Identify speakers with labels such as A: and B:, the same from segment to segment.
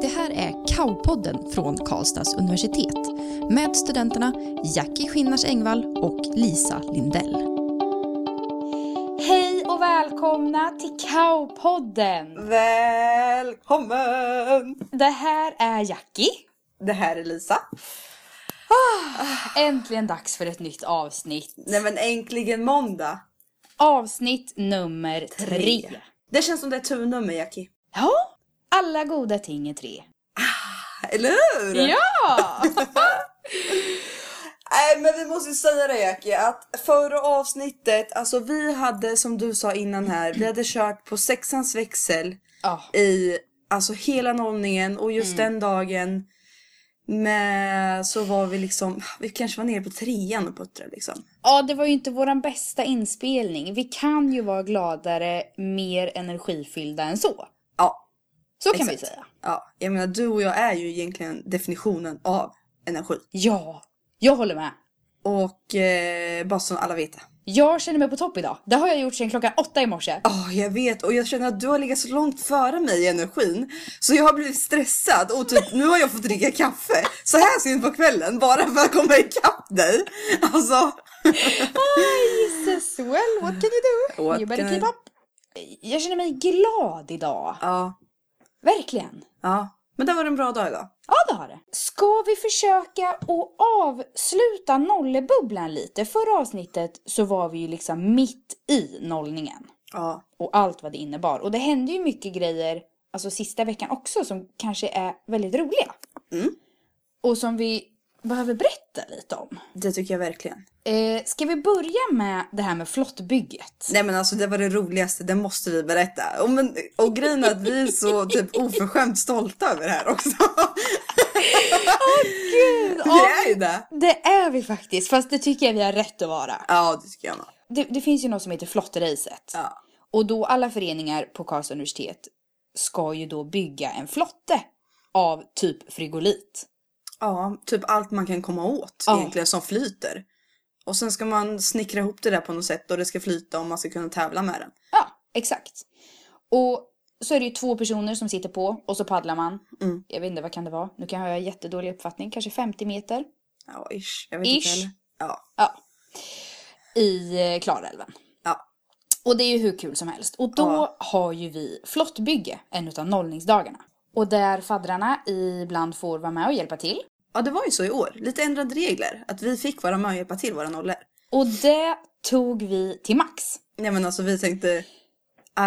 A: Det här är Kaopodden från Karlstads universitet med studenterna Jackie Skinnars Engvall och Lisa Lindell.
B: Hej och välkomna till Kaopodden!
C: Välkommen!
B: Det här är Jackie.
C: Det här är Lisa.
B: Äntligen dags för ett nytt avsnitt.
C: Nej men äntligen måndag.
B: Avsnitt nummer tre.
C: Det känns som det är turnummer Jackie.
B: Ja, alla goda ting är tre.
C: Eller hur?
B: Ja!
C: Nej men vi måste ju säga det Jackie att förra avsnittet, alltså vi hade som du sa innan här, vi hade kört på sexans växel
B: Ja,
C: i alltså hela nollningen och just den dagen med, så var vi liksom, vi kanske var nere på trean och puttrade liksom.
B: Ja, det var ju inte våran bästa inspelning. Vi kan ju vara gladare, mer energifyllda än så.
C: Ja,
B: Så kan vi
C: Exakt.
B: säga.
C: ja, jag menar du och jag är ju egentligen definitionen av energi.
B: Ja, jag håller med.
C: Och eh, bara så alla vet det.
B: Jag känner mig på topp idag. Det har jag gjort sedan klockan åtta i morse.
C: Ja, jag vet och jag känner att du har legat så långt före mig i energin så jag har blivit stressad och typ nu har jag fått dricka kaffe så här sent på kvällen bara för att komma ikapp dig. Alltså,
B: Jesus, well, what can you do?
C: What
B: you better
C: can I-
B: keep up. Jag känner mig glad idag.
C: ja,
B: Verkligen.
C: ja, men det var en bra dag idag.
B: Ja, det har det. Ska vi försöka att avsluta nollebubblan lite? Förra avsnittet så var vi ju liksom mitt i nollningen
C: Ja,
B: och allt vad det innebar. Och det hände ju mycket grejer, alltså sista veckan också, som kanske är väldigt roliga.
C: Mm.
B: Och som vi behöver berätta lite om.
C: det tycker jag verkligen.
B: Eh, ska vi börja med det här med flottbygget?
C: Nej men alltså det var det roligaste, det måste vi berätta. Och, men, och grejen är att vi är så typ oförskämt stolta över det här också.
B: Gud,
C: Vi är ju det.
B: Det är vi faktiskt, fast det tycker jag vi har rätt att vara.
C: Ja, det tycker jag med.
B: Det, det finns ju något som heter flotteracet.
C: Ja.
B: Och då alla föreningar på Karlstads universitet ska ju då bygga en flotte av typ frigolit.
C: Ja, typ allt man kan komma åt
B: Ja.
C: egentligen som flyter. Och sen ska man snickra ihop det där på något sätt och det ska flyta om man ska kunna tävla med den.
B: Ja, exakt. Och så är det ju två personer som sitter på och så paddlar man.
C: Mm.
B: Jag vet inte, vad kan det vara? Nu kan jag ha en jättedålig uppfattning. Kanske 50 meter
C: Ja, ish. Jag vet
B: Ish.
C: inte heller. Ja.
B: i eh, Klarälven.
C: Ja.
B: Och det är ju hur kul som helst. Och då
C: Ja.
B: har ju vi flottbygge en utav nollningsdagarna. Och där faddrarna ibland får vara med och hjälpa till.
C: ja, det var ju så i år. Lite ändrade regler. Att vi fick vara med och hjälpa till våra nollor.
B: Och det tog vi till max.
C: Nej men alltså vi tänkte,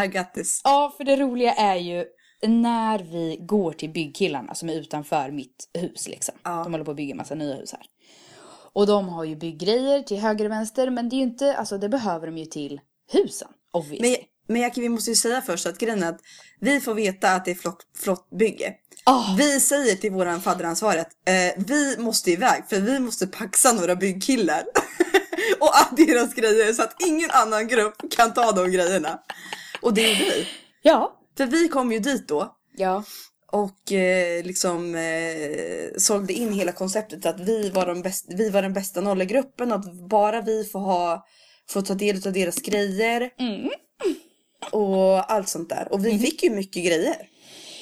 C: I got this.
B: Ja, för det roliga är ju när vi går till byggkillarna som är utanför mitt hus liksom.
C: Ja.
B: De håller på att bygga massa nya hus här. Och de har ju bygggrejer till höger och vänster men det är ju inte, alltså det behöver de ju till husen obviously.
C: Men, men Jackie, vi måste ju säga först att grejen är att vi får veta att det är flott, flott bygge.
B: Ah,
C: Vi säger till våran fadderansvarig att eh, vi måste iväg för vi måste paxa några byggkillar och all deras grejer så att ingen annan grupp kan ta de grejerna. Och det gjorde vi.
B: ja.
C: För vi kom ju dit då
B: Ja.
C: och eh, liksom eh, sålde in hela konceptet att vi var, de bäst, vi var den bästa nollegruppen och att bara vi får, ha, får ta del av deras grejer
B: Mm.
C: och allt sånt där. Och vi fick ju mycket grejer.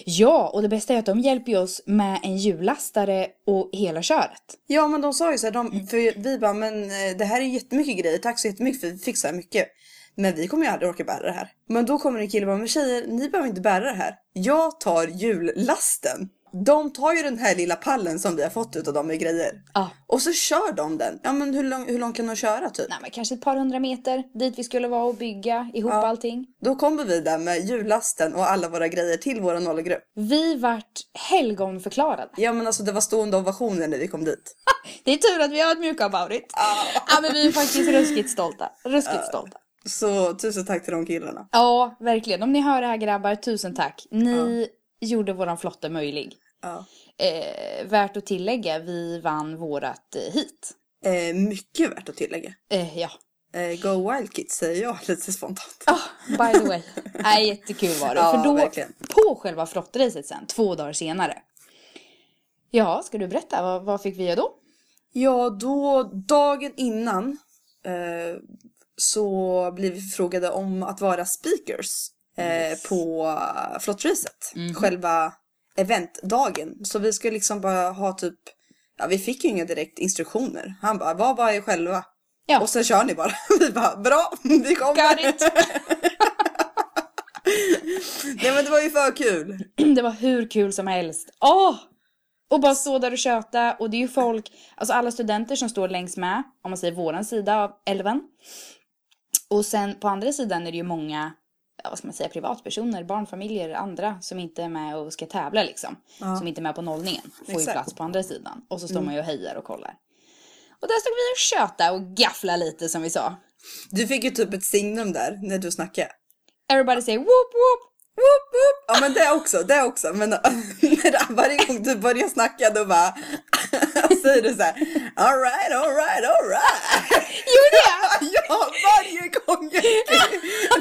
B: Ja, och det bästa är att de hjälper ju oss med en hjullastare och hela köret.
C: Ja men de sa ju så här, de, för vi bara men eh, det här är jättemycket grejer, tack så jättemycket för vi fick så här mycket. Men vi kommer ju aldrig orka bära det här. Men då kommer en kille och bara, men tjejer ni behöver inte bära det här. Jag tar jullasten. De tar ju den här lilla pallen som vi har fått utav dem med grejer.
B: Ja.
C: Och så kör de den. Ja men hur lång, hur lång kan de köra typ?
B: Nej men kanske ett par hundra meter dit vi skulle vara och bygga ihop
C: Ja.
B: allting.
C: Då kommer vi där med jullasten och alla våra grejer till våra nollgrupp.
B: Vi vart helgonförklarade.
C: Ja men alltså det var stående ovationer när vi kom dit.
B: Det är tur att vi är ödmjuka about it. Ja, men vi är faktiskt ruskigt stolta. Ruskigt stolta.
C: Så tusen tack till de killarna.
B: Ja, verkligen. Om ni hör det här grabbar, tusen tack. Ni gjorde våran flotte möjlig.
C: Ja.
B: Eh, värt att tillägga, vi vann vårat eh, hit.
C: Eh, mycket värt att tillägga.
B: Eh, ja,
C: Eh, Go Wild Kids säger jag lite spontant.
B: Ah, by the way. Nej, jättekul var det.
C: Ja,
B: För då,
C: verkligen.
B: på själva flottracet sen, två dagar senare. Ja, ska du berätta? Vad, vad fick vi göra då?
C: Ja, då dagen innan eh, så blev vi frågade om att vara speakers eh,
B: Yes.
C: på flottracet.
B: Mhm.
C: Själva eventdagen. Så vi skulle liksom bara ha typ, ja vi fick ju inga direkt instruktioner. Han bara, var bara er själva.
B: Ja.
C: Och sen kör ni bara. Vi bara, bra, vi
B: Got
C: kommer.
B: it.
C: Nej men det var ju för kul.
B: Det var hur kul som helst. Åh! Och bara stå där och köta. Och det är ju folk, alltså alla studenter som står längs med, om man säger våran sida av älven. Och sen på andra sidan är det ju många, ja, vad ska man säga, privatpersoner, barnfamiljer, andra som inte är med och ska tävla liksom.
C: Ja.
B: Som inte är med på nollningen. Får ju
C: Exakt. Mm.
B: plats på andra sidan. Och så står man ju och hejar och kollar. Och där stod vi och köta och gaffla lite som vi sa.
C: Du fick ju typ ett signum där när du snackade.
B: Everybody say whoop whoop, whoop whoop.
C: Ja men det också, det också. Men när det- varje gång du börjar snacka då bara säger du så här alright, alright, alright.
B: Gjorde jag?
C: Ja, varje gång jag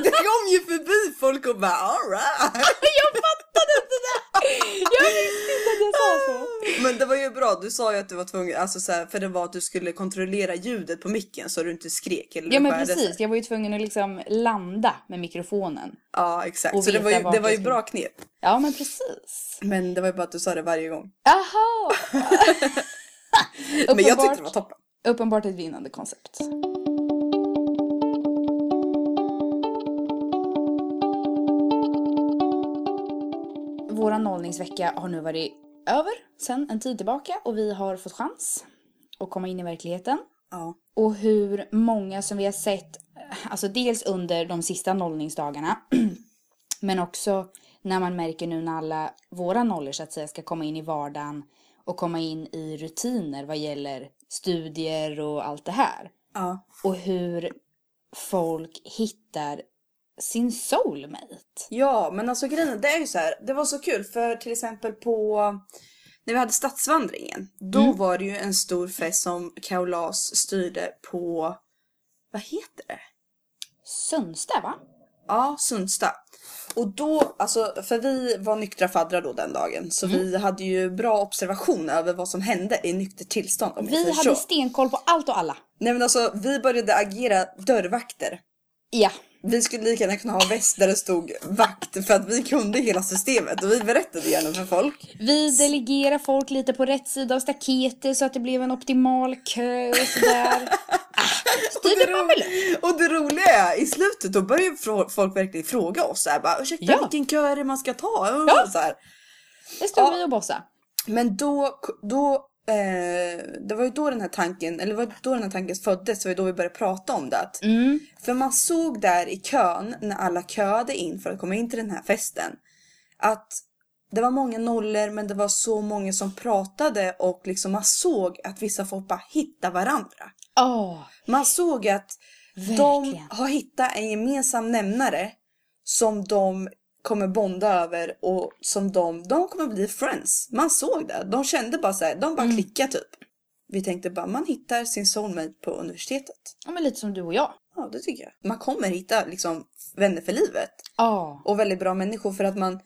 C: Det kom ju förbi folk och bara alright.
B: Jag fattade inte det! Jag visste inte att jag sa så.
C: Men det var ju bra, du sa ju att du var tvungen, alltså så här, för det var att du skulle kontrollera ljudet på micken så du inte skrek. Eller
B: Ja men
C: började-
B: precis, jag var ju tvungen att liksom landa med mikrofonen.
C: Ja exakt,
B: Och
C: så det
B: veta
C: var ju,
B: vart
C: det var
B: jag
C: ju
B: skulle-
C: bra knep.
B: Ja men precis.
C: Men det var ju bara att du sa det varje gång.
B: Jaha!
C: Men jag tyckte
B: uppenbart,
C: det var toppen.
B: uppenbart ett vinnande koncept. Vår nollningsvecka har nu varit över sen en tid tillbaka och vi har fått chans att komma in i verkligheten.
C: Ja.
B: Och hur många som vi har sett, alltså dels under de sista nollningsdagarna, men också när man märker nu när alla våra nollor så att säga ska komma in i vardagen och komma in i rutiner vad gäller studier och allt det här.
C: Ja.
B: Och hur folk hittar sin soulmate.
C: Ja, men alltså grejen är- det är ju så här. Det var så kul för till exempel på när vi hade stadsvandringen. Då
B: Mm.
C: var det ju en stor fest som Kaulas styrde på, vad heter det?
B: Sönstad va?
C: Ja, Sundsta. Och då, alltså för vi var nyktra faddrar då den dagen. Så
B: Mm.
C: vi hade ju bra observation över vad som hände i nyktert tillstånd om jag
B: Vi
C: säger
B: hade
C: så.
B: stenkoll på allt och alla.
C: Nej men alltså vi började agera dörrvakter.
B: Ja,
C: Vi skulle lika gärna kunna ha väst där det stod vakt för att vi kunde hela systemet och vi berättade gärna för folk.
B: vi delegerar folk lite på rätt sida av staketet så att det blev en optimal kö och sådär. Ah,
C: Och det,
B: Styrde man väl upp?
C: ro- och det roliga är i slutet då börjar ju frå- folk verkligen fråga oss så här, bara, ursäkta
B: Ja.
C: vilken kö är det man ska ta? Och
B: Ja.
C: Så här.
B: Det stod
C: Ja.
B: vi och bossa.
C: Men då, då eh, det var ju då den här tanken, eller det var då den här tanken föddes, det var ju då vi började prata om det. Att,
B: Mm.
C: För man såg där i kön när alla köade in för att komma in till den här festen att det var många nollor men det var så många som pratade och liksom man såg att vissa folk bara hittade varandra.
B: Åh,
C: Man såg att de
B: verkligen.
C: har hittat en gemensam nämnare som de kommer bonda över och som de, de kommer bli friends. Man såg det. De kände bara så här, de bara klickade typ. Vi tänkte bara, man hittar sin soulmate på universitetet.
B: Ja, men lite som du och jag.
C: Ja, det tycker jag. Man kommer hitta liksom vänner för livet
B: Ja,
C: och väldigt bra människor för att man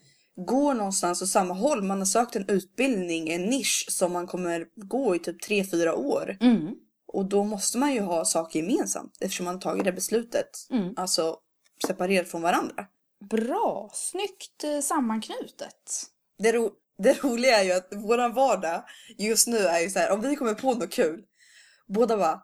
C: går någonstans åt samma håll. Man har sökt en utbildning, en nisch som man kommer gå i typ 3-4 år.
B: mm.
C: Och då måste man ju ha saker gemensamt eftersom man har tagit det beslutet.
B: Mm.
C: Alltså separerat från varandra.
B: Bra, snyggt eh, sammanknutet.
C: Det, ro- det roliga är ju att våran vardag just nu är ju så här, om vi kommer på något kul, båda bara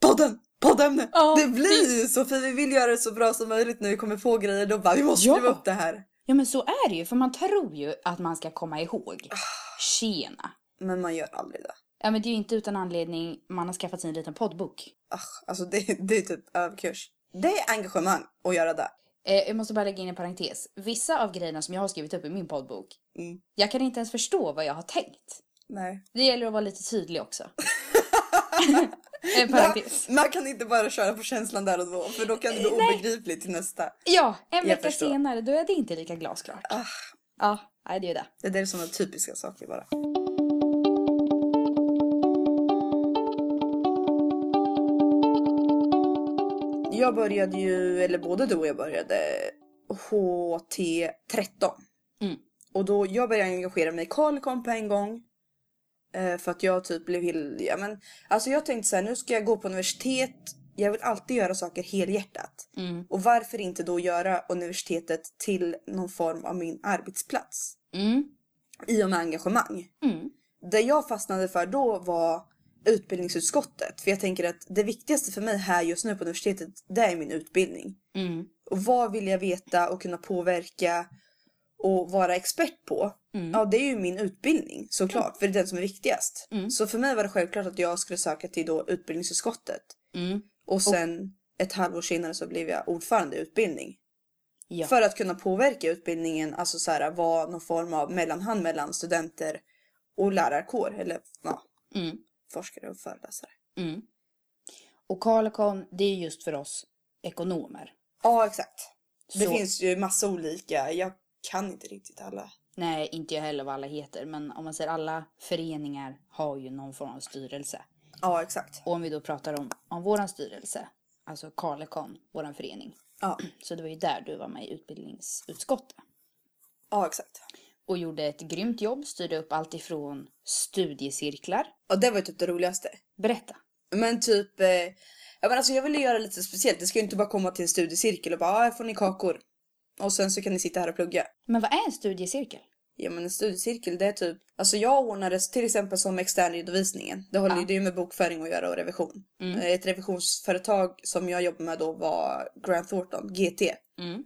C: podden, poddämne!
B: Ja,
C: det blir ju så för vi vill göra det så bra som möjligt när vi kommer på grejer. Då bara vi måste
B: Ja.
C: skriva upp det här.
B: Ja, men så är det ju, för man tror ju att man ska komma ihåg.
C: Ah.
B: Tjena.
C: Men man gör aldrig det.
B: Ja, men det är ju inte utan anledning man har skaffat sig en liten poddbok.
C: Ach, alltså det, det är typ överkurs. Det är engagemang att göra det.
B: Eh, jag måste bara lägga in en parentes. Vissa av grejerna som jag har skrivit upp i min poddbok,
C: Mm.
B: jag kan inte ens förstå vad jag har tänkt.
C: Nej.
B: Det gäller att vara lite tydlig också. en parentes.
C: Man, man kan inte bara köra på känslan där och då för då kan det bli obegripligt till nästa.
B: Ja, en
C: Jag
B: vecka
C: förstår.
B: senare, då är det inte lika glasklart.
C: Ah.
B: Ja, nej, det är ju det.
C: Det där är sådana typiska saker bara. Jag började ju, eller både du och jag började HT13.
B: Mm.
C: Och då, jag började engagera mig i Carlicom på en gång. Eh, för att jag typ blev helt, ja men alltså jag tänkte så här, nu ska jag gå på universitet. Jag vill alltid göra saker helhjärtat.
B: Mm.
C: Och varför inte då göra universitetet till någon form av min arbetsplats?
B: Mm.
C: i och med engagemang.
B: Mm.
C: Det jag fastnade för då var utbildningsutskottet. För jag tänker att det viktigaste för mig här just nu på universitetet, det är min utbildning.
B: Mm.
C: Och vad vill jag veta och kunna påverka och vara expert på?
B: Mm.
C: Ja, det är ju min utbildning såklart, för det är den som är viktigast.
B: Mm.
C: Så för mig var det självklart att jag skulle söka till då utbildningsutskottet.
B: Mm.
C: Och sen ett halvår senare så blev jag ordförande i utbildning.
B: Ja.
C: För att kunna påverka utbildningen, alltså så här, vara någon form av mellanhand mellan studenter och lärarkår. Eller ja,
B: Mm.
C: forskare och föreläsare.
B: Mm. Och Carlcon, det är just för oss ekonomer.
C: Ja, exakt. Det
B: Så-
C: finns ju massa olika. Jag kan inte riktigt alla.
B: Nej, inte jag heller vad alla heter, men om man säger alla föreningar har ju någon form av styrelse.
C: Ja, exakt.
B: Och om vi då pratar om, om våran styrelse, alltså Carlcon, våran förening.
C: Ja,
B: Så det var ju där du var med i utbildningsutskottet.
C: ja exakt.
B: Och gjorde ett grymt jobb, styrde upp allt ifrån studiecirklar.
C: Och det var ju typ det roligaste.
B: Berätta.
C: Men typ, eh, jag, menar, alltså jag ville göra lite speciellt. Det ska ju inte bara komma till en studiecirkel och bara, ah, här får ni kakor. Och sen så kan ni sitta här och plugga.
B: Men vad är en studiecirkel?
C: Ja men en studiecirkel det är typ, alltså jag ordnade till exempel som externredovisningen. Det håller ju
B: Ja.
C: det är ju med bokföring att göra och revision.
B: Mm.
C: Eh, Ett revisionsföretag som jag jobbade med då var Grant Thornton, GT.
B: Mm.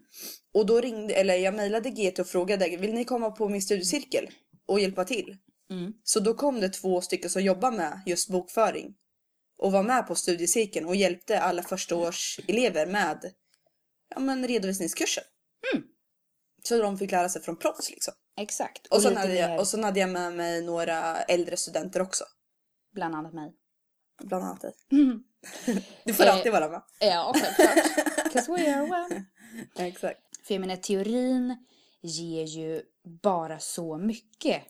C: Och då ringde, eller jag mejlade GT och frågade, vill ni komma på min studiecirkel och hjälpa till?
B: Mm.
C: Så då kom det två stycken som jobbar med just bokföring och var med på studiecirkeln och hjälpte alla förstaårselever med ja, men redovisningskursen.
B: Mm.
C: Så de fick lära sig från proffs liksom.
B: Exakt.
C: Och, sen
B: lite
C: hade jag,
B: mer,
C: och sen hade jag med mig några äldre studenter också.
B: bland annat mig.
C: Bland annat dig.
B: Mm.
C: Du får
B: Eh.
C: alltid vara med.
B: Ja, självklart. 'Cause we are one.
C: Exakt.
B: För jag menar, teorin ger ju bara så mycket,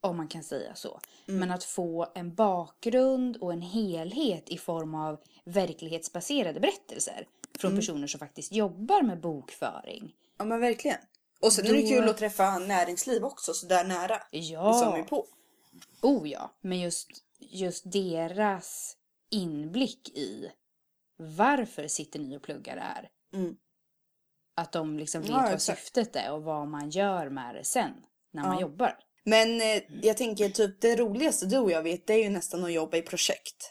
B: om man kan säga så.
C: Mm.
B: Men att få en bakgrund och en helhet i form av verklighetsbaserade berättelser från
C: Mm.
B: personer som faktiskt jobbar med bokföring.
C: Ja men verkligen. Och sen är det
B: Då-
C: kul att träffa näringsliv också så där nära.
B: Ja,
C: Liksom är på.
B: oh ja, men just, just deras inblick i varför sitter ni och pluggar här?
C: Mm.
B: Att de liksom vet
C: Ja,
B: vad
C: exakt.
B: syftet är och vad man gör med det sen när man
C: Ja.
B: jobbar.
C: Men eh, jag tänker typ det roligaste du och jag vet det är ju nästan att jobba i projekt.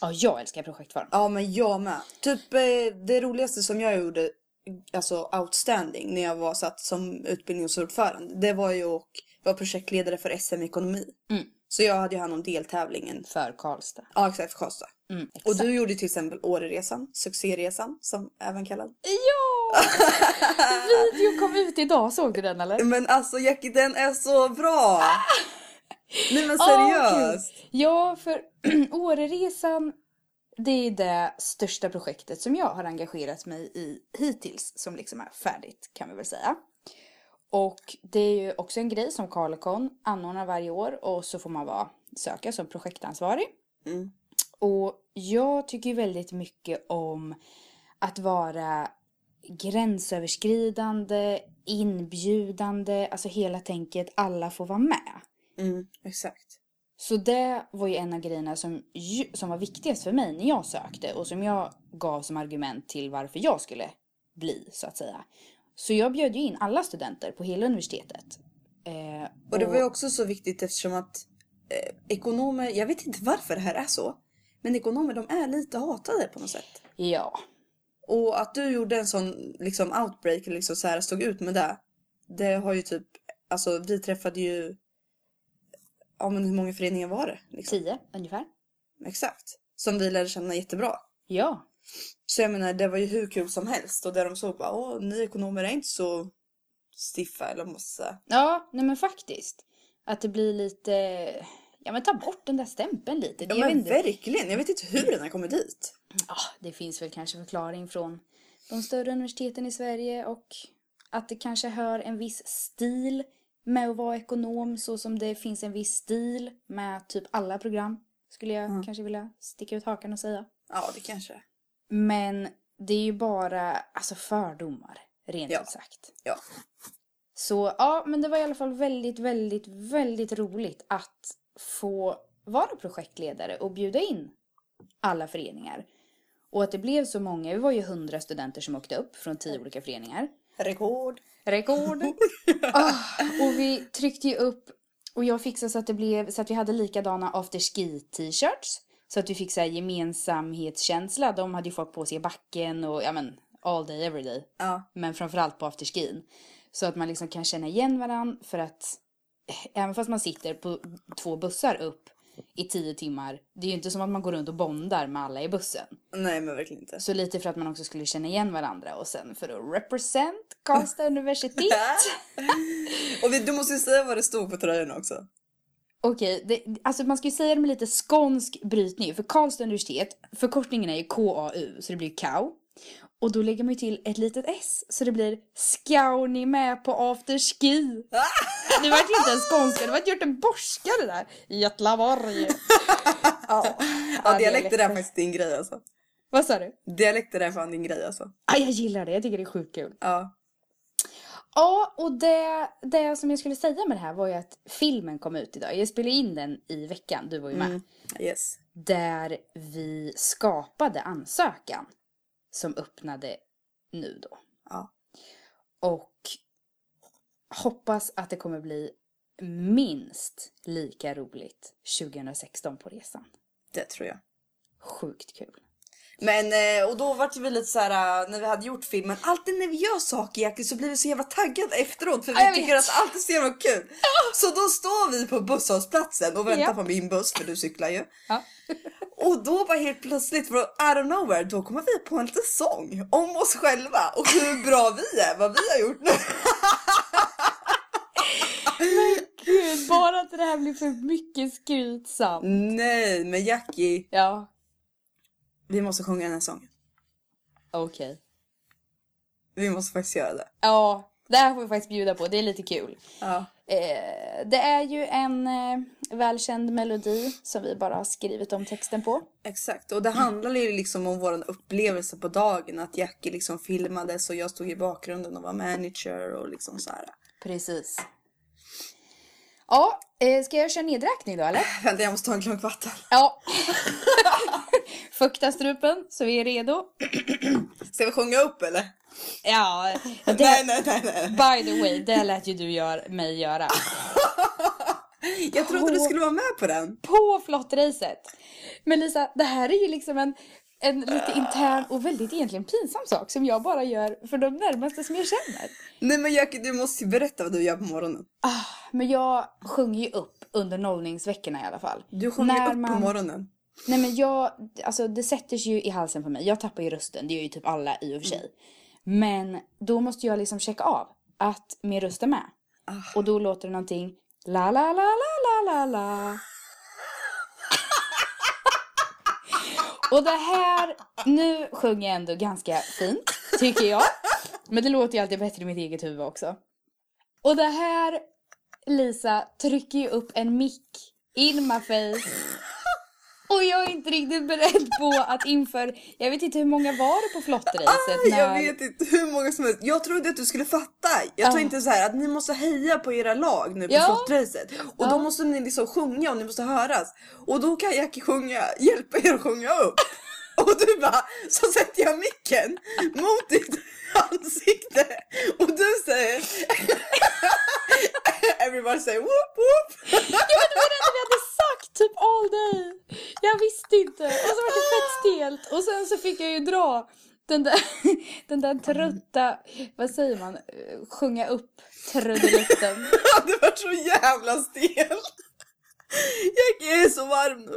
B: Ja, jag älskar projektform.
C: Ja men jag med. Typ eh, det roligaste som jag gjorde, alltså outstanding, när jag var satt som utbildningsordförande. Det var ju att vara projektledare för SM ekonomi.
B: Mm.
C: Så jag hade ju hand om deltävlingen.
B: För Karlstad.
C: Ja exakt för Karlstad.
B: Mm, exakt.
C: Och du gjorde till exempel Åreresan, succéresan som även kallad.
B: Ja! Video kom ut idag, såg du den eller?
C: Men alltså Jackie den är så bra! Nej men
B: Åh,
C: seriöst!
B: Ah! kul. ja, för Åreresan, det är det största projektet som jag har engagerat mig i hittills, som liksom är färdigt kan vi väl säga. Och det är ju också en grej som Carlecon anordnar varje år och så får man vara, söka som projektansvarig.
C: Mm.
B: Och jag tycker ju väldigt mycket om att vara gränsöverskridande, inbjudande, alltså hela tänket alla får vara med.
C: Mm, exakt.
B: Så det var ju en av grejerna som, ju- som var viktigast för mig när jag sökte och som jag gav som argument till varför jag skulle bli så att säga. Så jag bjöd ju in alla studenter på hela universitetet. Eh,
C: Och det var ju också så viktigt eftersom att eh, ekonomer, jag vet inte varför det här är så, men ekonomer de är lite hatade på något sätt.
B: Ja,
C: Och att du gjorde en sån liksom outbreak, liksom så här, stod ut med det, det har ju typ, alltså vi träffade ju, ja men hur många föreningar var det? Liksom?
B: tio ungefär.
C: Exakt. Som vi lärde känna jättebra.
B: Ja,
C: Så jag menar, det var ju hur kul som helst och där de såg bara, åh, ni ekonomer är inte så stiffa eller måste.
B: Ja, nej men faktiskt. Att det blir lite... Ja men ta bort den där stämpeln lite. Det,
C: Ja
B: jag vet
C: men
B: inte,
C: verkligen, jag vet inte hur den här kommer dit.
B: Ah, det finns väl kanske förklaring från de större universiteten i Sverige och att det kanske hör en viss stil med att vara ekonom så som det finns en viss stil med typ alla program. Skulle jag
C: Mm.
B: kanske vilja sticka ut hakan och säga.
C: Ja, det kanske.
B: Men det är ju bara alltså fördomar, rent
C: Ja.
B: ut sagt.
C: Ja.
B: Så ja, men det var i alla fall väldigt, väldigt, väldigt roligt att få vara projektledare och bjuda in alla föreningar. Och att det blev så många, vi var ju hundra studenter som åkte upp från tio olika föreningar.
C: Rekord.
B: Rekord! Ah, och vi tryckte ju upp Och jag fixade så att, det blev, så att vi hade likadana afterski t-shirts. Så att vi fick så här gemensamhetskänsla. De hade ju folk på sig i backen och ja men all day every day.
C: Ja.
B: Men framförallt på afterskin. Så att man liksom kan känna igen varandra för att eh, även fast man sitter på två bussar upp i tio timmar. Det är ju inte som att man går runt och bondar med alla i bussen.
C: Nej men verkligen inte.
B: Så lite för att man också skulle känna igen varandra och sen för att represent Karlstad universitet.
C: och vi, du måste ju säga vad det stod på tröjan också.
B: Okej, det- alltså man ska ju säga det med lite skånsk brytning. För Karlstad universitet, förkortningen är ju KAU, så det blir ju KAU. Och då lägger man ju till ett litet S, så det blir Skau ni med på afterski. Det var ju inte en skånska, det var ett göteborgska det där. Götlaborg. ja,
C: Ja, dialekter är faktiskt din grej alltså.
B: Vad sa du?
C: Dialekter är fan din grej alltså.
B: Ah, jag gillar det, jag tycker det är sjukt kul.
C: Ja.
B: Ja, och det, det som jag skulle säga med det här var ju att filmen kom ut idag. Jag spelade in den i veckan, du var ju med.
C: Mm. Yes.
B: Där vi skapade ansökan som öppnade nu då.
C: Ja.
B: Och hoppas att det kommer bli minst lika roligt 2016 på resan.
C: Det tror jag.
B: Sjukt kul.
C: Men eh, och då vart vi lite så här eh, när vi hade gjort filmen. Alltid när vi gör saker Jackie så blir vi så jävla taggade efteråt för vi
B: Ja, jag
C: tycker
B: vet.
C: att allt är så jävla kul. Så då står vi på busshållplatsen och väntar
B: Ja.
C: på min buss för du cyklar ju.
B: Ja.
C: Och då bara helt plötsligt från out of nowhere då kommer vi på en liten sång om oss själva och hur bra vi är, vad vi har gjort nu.
B: Gud, bara att det här blir för mycket skrytsamt.
C: Nej men Jackie,
B: Ja,
C: vi måste sjunga den här sången.
B: okej.
C: Vi måste faktiskt göra det.
B: Ja, det här får vi faktiskt bjuda på. Det är lite kul.
C: Ja.
B: Eh, det är ju en eh, välkänd melodi som vi bara har skrivit om texten på.
C: Exakt, och det
B: Mm.
C: handlar ju liksom om vår upplevelse på dagen. Att Jackie liksom filmades och jag stod i bakgrunden och var manager och liksom så här.
B: Precis. Ja, eh, ska jag köra nedräkning då eller?
C: Vänta, jag måste ta en klunk vatten.
B: Ja. Fukta strupen så vi är redo.
C: Ska vi sjunga upp eller?
B: Ja,
C: Nej,
B: det,
C: nej, nej, nej.
B: by the way, det lät ju du gör, mig göra.
C: Jag trodde du skulle vara med på den.
B: På flottracet. Men Lisa, det här är ju liksom en, en lite intern och väldigt egentligen pinsam sak som jag bara gör för de närmaste som jag känner.
C: Nej men Jackie, du måste ju berätta vad du gör på morgonen.
B: Ah, men jag sjunger ju upp under nollningsveckorna i alla fall.
C: Du sjunger
B: När
C: upp på
B: man-
C: morgonen.
B: Nej men jag, alltså det sätter sig ju i halsen på mig. Jag tappar ju rösten, det gör ju typ alla i och för sig. Men då måste jag liksom checka av att min röst är med.
C: Ah.
B: Och då låter det någonting la la la la la la la. och det här, nu sjunger jag ändå ganska fint, tycker jag. Men det låter ju alltid bättre i mitt eget huvud också. Och det här, Lisa, trycker ju upp en mick in my face. Och jag är inte riktigt beredd på att inför, jag vet inte hur många var det på flottracet?
C: Nej, Ah, Jag vet inte hur många som helst. Jag trodde att du skulle fatta. Jag
B: Ah.
C: tror inte så här att ni måste heja på era lag nu på
B: Ja.
C: flottracet. Och
B: Ja.
C: då måste ni liksom sjunga och ni måste höras. Och då kan Jackie sjunga, hjälpa er att sjunga upp. Och du bara, så sätter jag micken mot ditt ansikte och du säger Everybody say whoop whoop.
B: Det var det enda vi hade sagt typ all day. Jag visste inte. Och så var det fett stelt. Och sen så fick jag ju dra den där, den där trötta, vad säger man, Eh, sjunga upp trudelutten.
C: Det var så jävla stel. Jackie är så varm nu.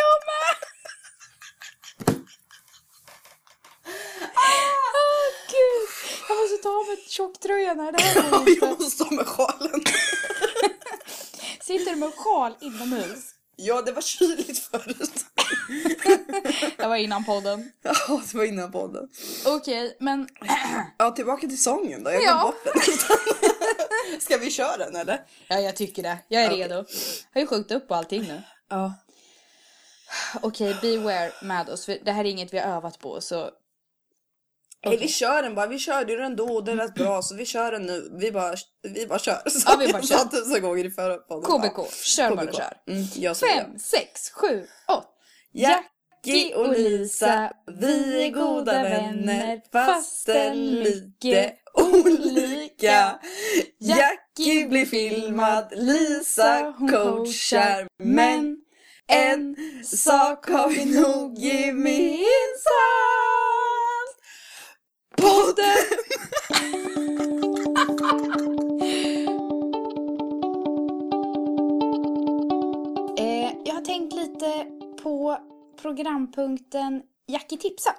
B: Jag med! Åh gud! Jag måste ta av mig tjocktröjan här, det här går
C: Jag
B: inte.
C: måste stå med sjalen.
B: Sitter du med sjal inomhus?
C: Ja, det var kyligt förut.
B: Det var innan podden.
C: Ja, det var innan podden.
B: Okej, men
C: Ja, tillbaka till sången då. Jag
B: Ja.
C: glömde bort den nästan. Ska vi köra den eller?
B: ja, jag tycker det. Jag är
C: Okej.
B: redo. Jag har ju sjungit upp på allting nu.
C: Ja.
B: Okej, beware med oss. För det här är inget vi har övat på. Så
C: Hey, vi kör den bara. Vi körde ju den då och den lät bra så vi kör den nu. Vi bara, vi bara kör. Så
B: Ja, vi bara
C: jag
B: kör.
C: sa tusen gånger i förra podden.
B: KBK, kör bara och
C: KBK.
B: kör.
C: Mm, jag säger
B: Fem, sex, sju, åtta.
C: Ja. Jackie och Lisa, vi är goda vänner fastän lite olika. Jackie blir filmad, Lisa coachar, men en sak har vi nog gemensamt. Podden!
B: Eh, jag har tänkt lite på programpunkten Jackie tipsar.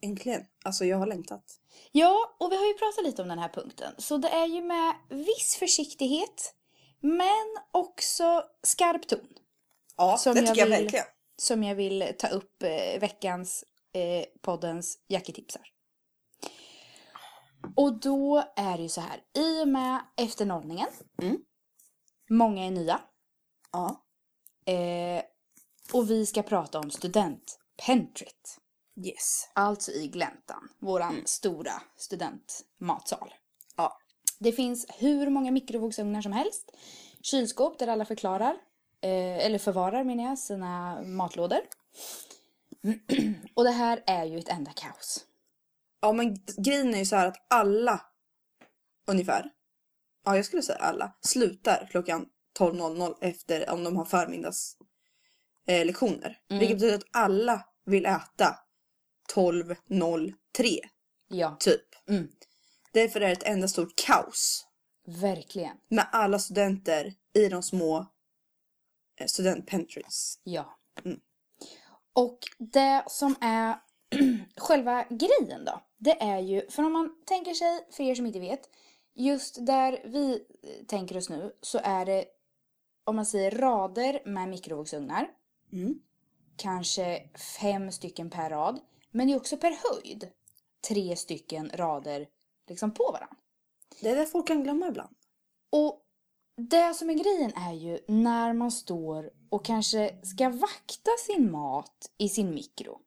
C: Äntligen. Alltså jag har längtat.
B: Ja, och vi har ju pratat lite om den här punkten. Så det är ju med viss försiktighet, men också skarp ton.
C: Ja,
B: Som
C: det
B: jag
C: tycker jag,
B: vill.
C: verkligen.
B: Som jag vill ta upp eh, veckans, eh, poddens Jackie-tipsar. Och då är det ju så här, i och med efternollningen.
C: Mm.
B: Många är nya.
C: Ja.
B: Eh, och vi ska prata om studentpentryt.
C: Yes.
B: Alltså i Gläntan, våran
C: Mm.
B: stora studentmatsal.
C: Ja.
B: Det finns hur många mikrovågsugnar som helst. Kylskåp där alla förklarar, eh, eller förvarar menar jag, sina matlådor. Och det här är ju ett enda kaos.
C: Ja men grejen är ju så här att alla ungefär, ja jag skulle säga alla, slutar klockan 12.00 efter om de har förmiddags eh, lektioner.
B: Mm.
C: Vilket betyder att alla vill äta 12.03
B: Ja,
C: typ.
B: Mm.
C: Därför är det ett enda stort kaos
B: verkligen.
C: med alla studenter i de små eh, studentpentries.
B: Ja.
C: Mm.
B: Och det som är själva grejen då, det är ju, för om man tänker sig, för er som inte vet, just där vi eh, tänker oss nu så är det, om man säger rader med mikrovågsugnar,
C: Mm.
B: kanske fem stycken per rad, men det är också per höjd tre stycken rader liksom på varandra.
C: Det är det folk kan glömma ibland.
B: Och det som är grejen är ju när man står och kanske ska vakta sin mat i sin mikro.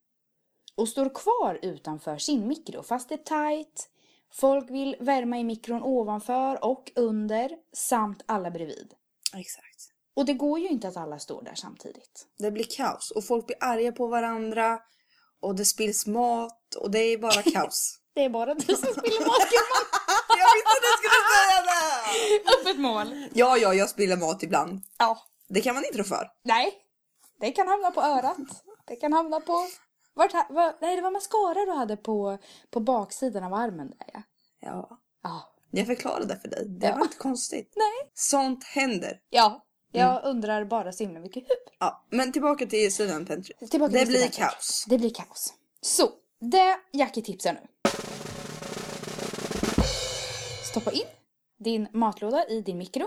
B: Och står kvar utanför sin mikro fast det är tajt. Folk vill värma i mikron ovanför och under samt alla bredvid.
C: Exakt.
B: Och det går ju inte att alla står där samtidigt.
C: Det blir kaos och folk blir arga på varandra och det spills mat och det är bara kaos.
B: Det är bara du som spiller mat.
C: jag visste du skulle säga det!
B: Öppet mål.
C: Ja, ja, jag spiller mat ibland.
B: Ja.
C: Det kan man inte rå för.
B: Nej. Det kan hamna på örat. Det kan hamna på... Vart, ha- va, nej, det var mascara du hade på, på baksidan av armen där ja.
C: Ja,
B: Ja.
C: jag förklarade det för dig. Det
B: Ja.
C: var inte konstigt.
B: Nej.
C: Sånt händer.
B: Ja.
C: Mm.
B: Jag undrar bara så himla mycket hur.
C: Ja, men tillbaka till studentpentry.
B: Tillbaka
C: Det
B: till
C: blir
B: studenten.
C: kaos.
B: Det blir kaos. Så, det Jackie tipsar nu. Stoppa in din matlåda i din mikro.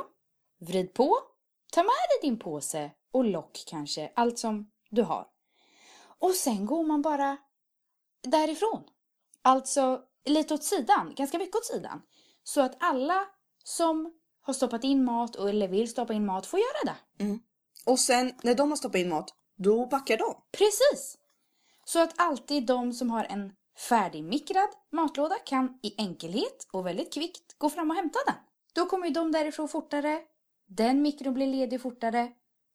B: Vrid på. Ta med dig din påse och lock kanske, allt som du har. Och sen går man bara därifrån. Alltså lite åt sidan, ganska mycket åt sidan. Så att alla som har stoppat in mat och- eller vill stoppa in mat får göra det.
C: Och sen när de har stoppat in mat, då backar de.
B: Precis! Så att alltid de som har en färdigmikrad matlåda kan i enkelhet och väldigt kvickt gå fram och hämta den. Då kommer ju de därifrån fortare, den mikron blir ledig fortare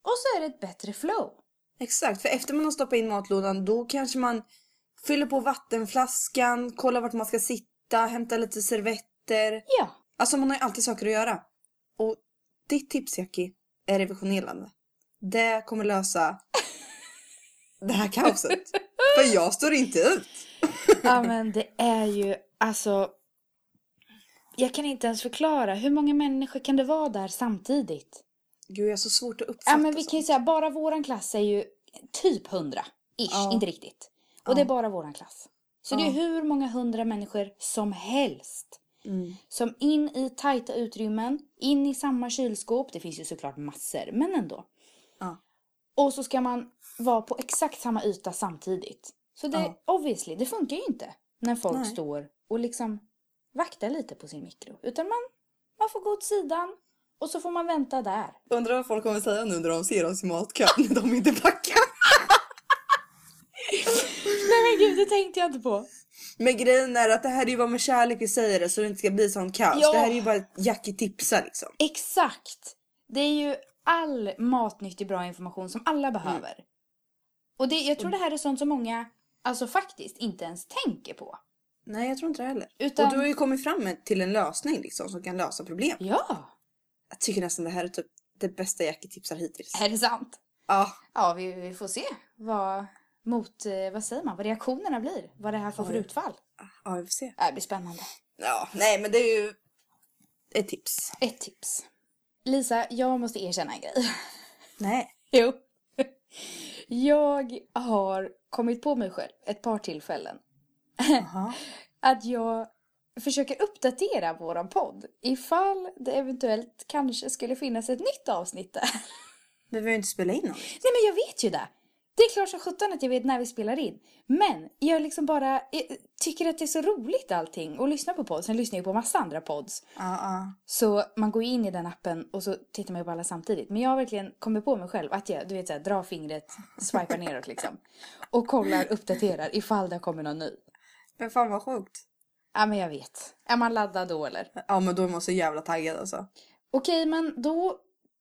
B: och så är det ett bättre flow.
C: Exakt, för efter man har stoppat in matlådan då kanske man fyller på vattenflaskan, kollar vart man ska sitta, hämtar lite servetter.
B: Ja,
C: Alltså man har ju alltid saker att göra. Och ditt tips Jackie är revisionerande. Det kommer lösa det här kaoset. För jag står inte ut.
B: ja men det är ju alltså... Jag kan inte ens förklara, hur många människor kan det vara där samtidigt?
C: Gud jag har så svårt att uppfatta
B: Ja men vi kan ju
C: sånt.
B: säga, bara våran klass är ju typ 100 ish,
C: Ja.
B: inte riktigt. Och
C: Ja.
B: det är bara våran klass. Så det är
C: Ja.
B: hur många hundra människor som helst.
C: Mm.
B: Som in i tajta utrymmen, in i samma kylskåp, det finns ju såklart massor, men ändå.
C: Ja.
B: Och så ska man vara på exakt samma yta samtidigt. Så det, obviously, det funkar ju inte när folk
C: Nej.
B: står och liksom vaktar lite på sin mikro. Utan man, man får gå åt sidan och så får man vänta där.
C: Undrar vad folk kommer säga nu när de ser oss i matkön när de inte backar.
B: Nej men gud, det tänkte jag inte på.
C: Men grejen är att det här är ju bara med kärlek vi säger det så det inte ska bli sån kaos.
B: Ja.
C: Det här är ju bara ett Jackie tipsar liksom. Mm.
B: Exakt! Det är ju all matnyttig bra information som alla behöver. Och det, jag tror det här är sånt som många alltså faktiskt inte ens tänker på.
C: Nej, jag tror inte det heller.
B: Utan-
C: Och du har ju kommit fram med, till en lösning liksom som kan lösa problem.
B: Ja!
C: Jag tycker nästan det här är typ det bästa Jackie tipsar hittills.
B: Är det sant?
C: Ja,
B: Ja, vi, vi får se vad, mot, eh, vad säger man, vad reaktionerna blir. Vad det här får för
C: Oj.
B: utfall.
C: ja, vi får se.
B: Det här blir spännande.
C: Ja, nej men det är ju ett tips.
B: Ett tips. Lisa, jag måste erkänna en grej.
C: Nej.
B: Jo. Jag har kommit på mig själv ett par tillfällen
C: Jaha.
B: att jag försöker uppdatera våran podd ifall det eventuellt kanske skulle finnas ett nytt avsnitt där.
C: Men vi har ju inte spelat in något.
B: Nej men jag vet ju det! Det är klart som sjutton att jag vet när vi spelar in. Men jag liksom bara eh, tycker att det är så roligt allting och lyssnar på podd. Sen lyssnar jag på massa andra pods.
C: Ja, ja.
B: Så man går in i den appen och så tittar man ju på alla samtidigt. Men jag har verkligen kommit på mig själv att jag, du vet såhär, drar fingret, swipar neråt liksom. Och kollar, uppdaterar ifall det kommer någon ny.
C: Men fan vad sjukt.
B: Ja men jag vet. Är man laddad då eller?
C: Ja men då är man så jävla taggad alltså.
B: Okej men då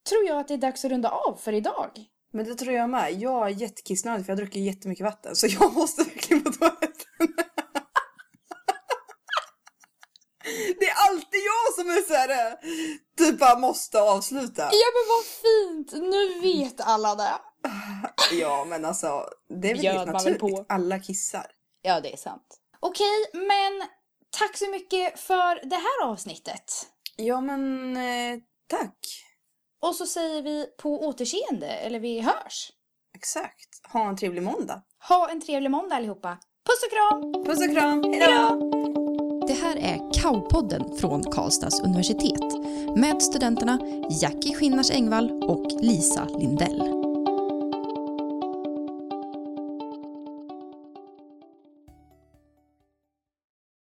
B: tror jag att det är dags att runda av för idag.
C: Men det tror jag med. Jag är jättekissnödig för jag dricker jättemycket vatten så jag måste verkligen på toaletten. Det är alltid jag som är såhär, typ bara måste avsluta.
B: Ja men vad fint! Nu vet alla det.
C: Ja men alltså, det är väl
B: Gör
C: helt
B: man väl
C: naturligt.
B: på.
C: Alla kissar.
B: Ja det är sant. Okej men tack så mycket för det här avsnittet.
C: Ja men, eh, tack.
B: Och så säger vi på återseende, eller vi hörs.
C: Exakt. Ha en trevlig måndag.
B: Ha en trevlig måndag allihopa. Puss och kram!
C: Puss och kram. Hejdå!
A: Det här är Kaopodden från Karlstads universitet med studenterna Jackie Skinnars Engvall och Lisa Lindell.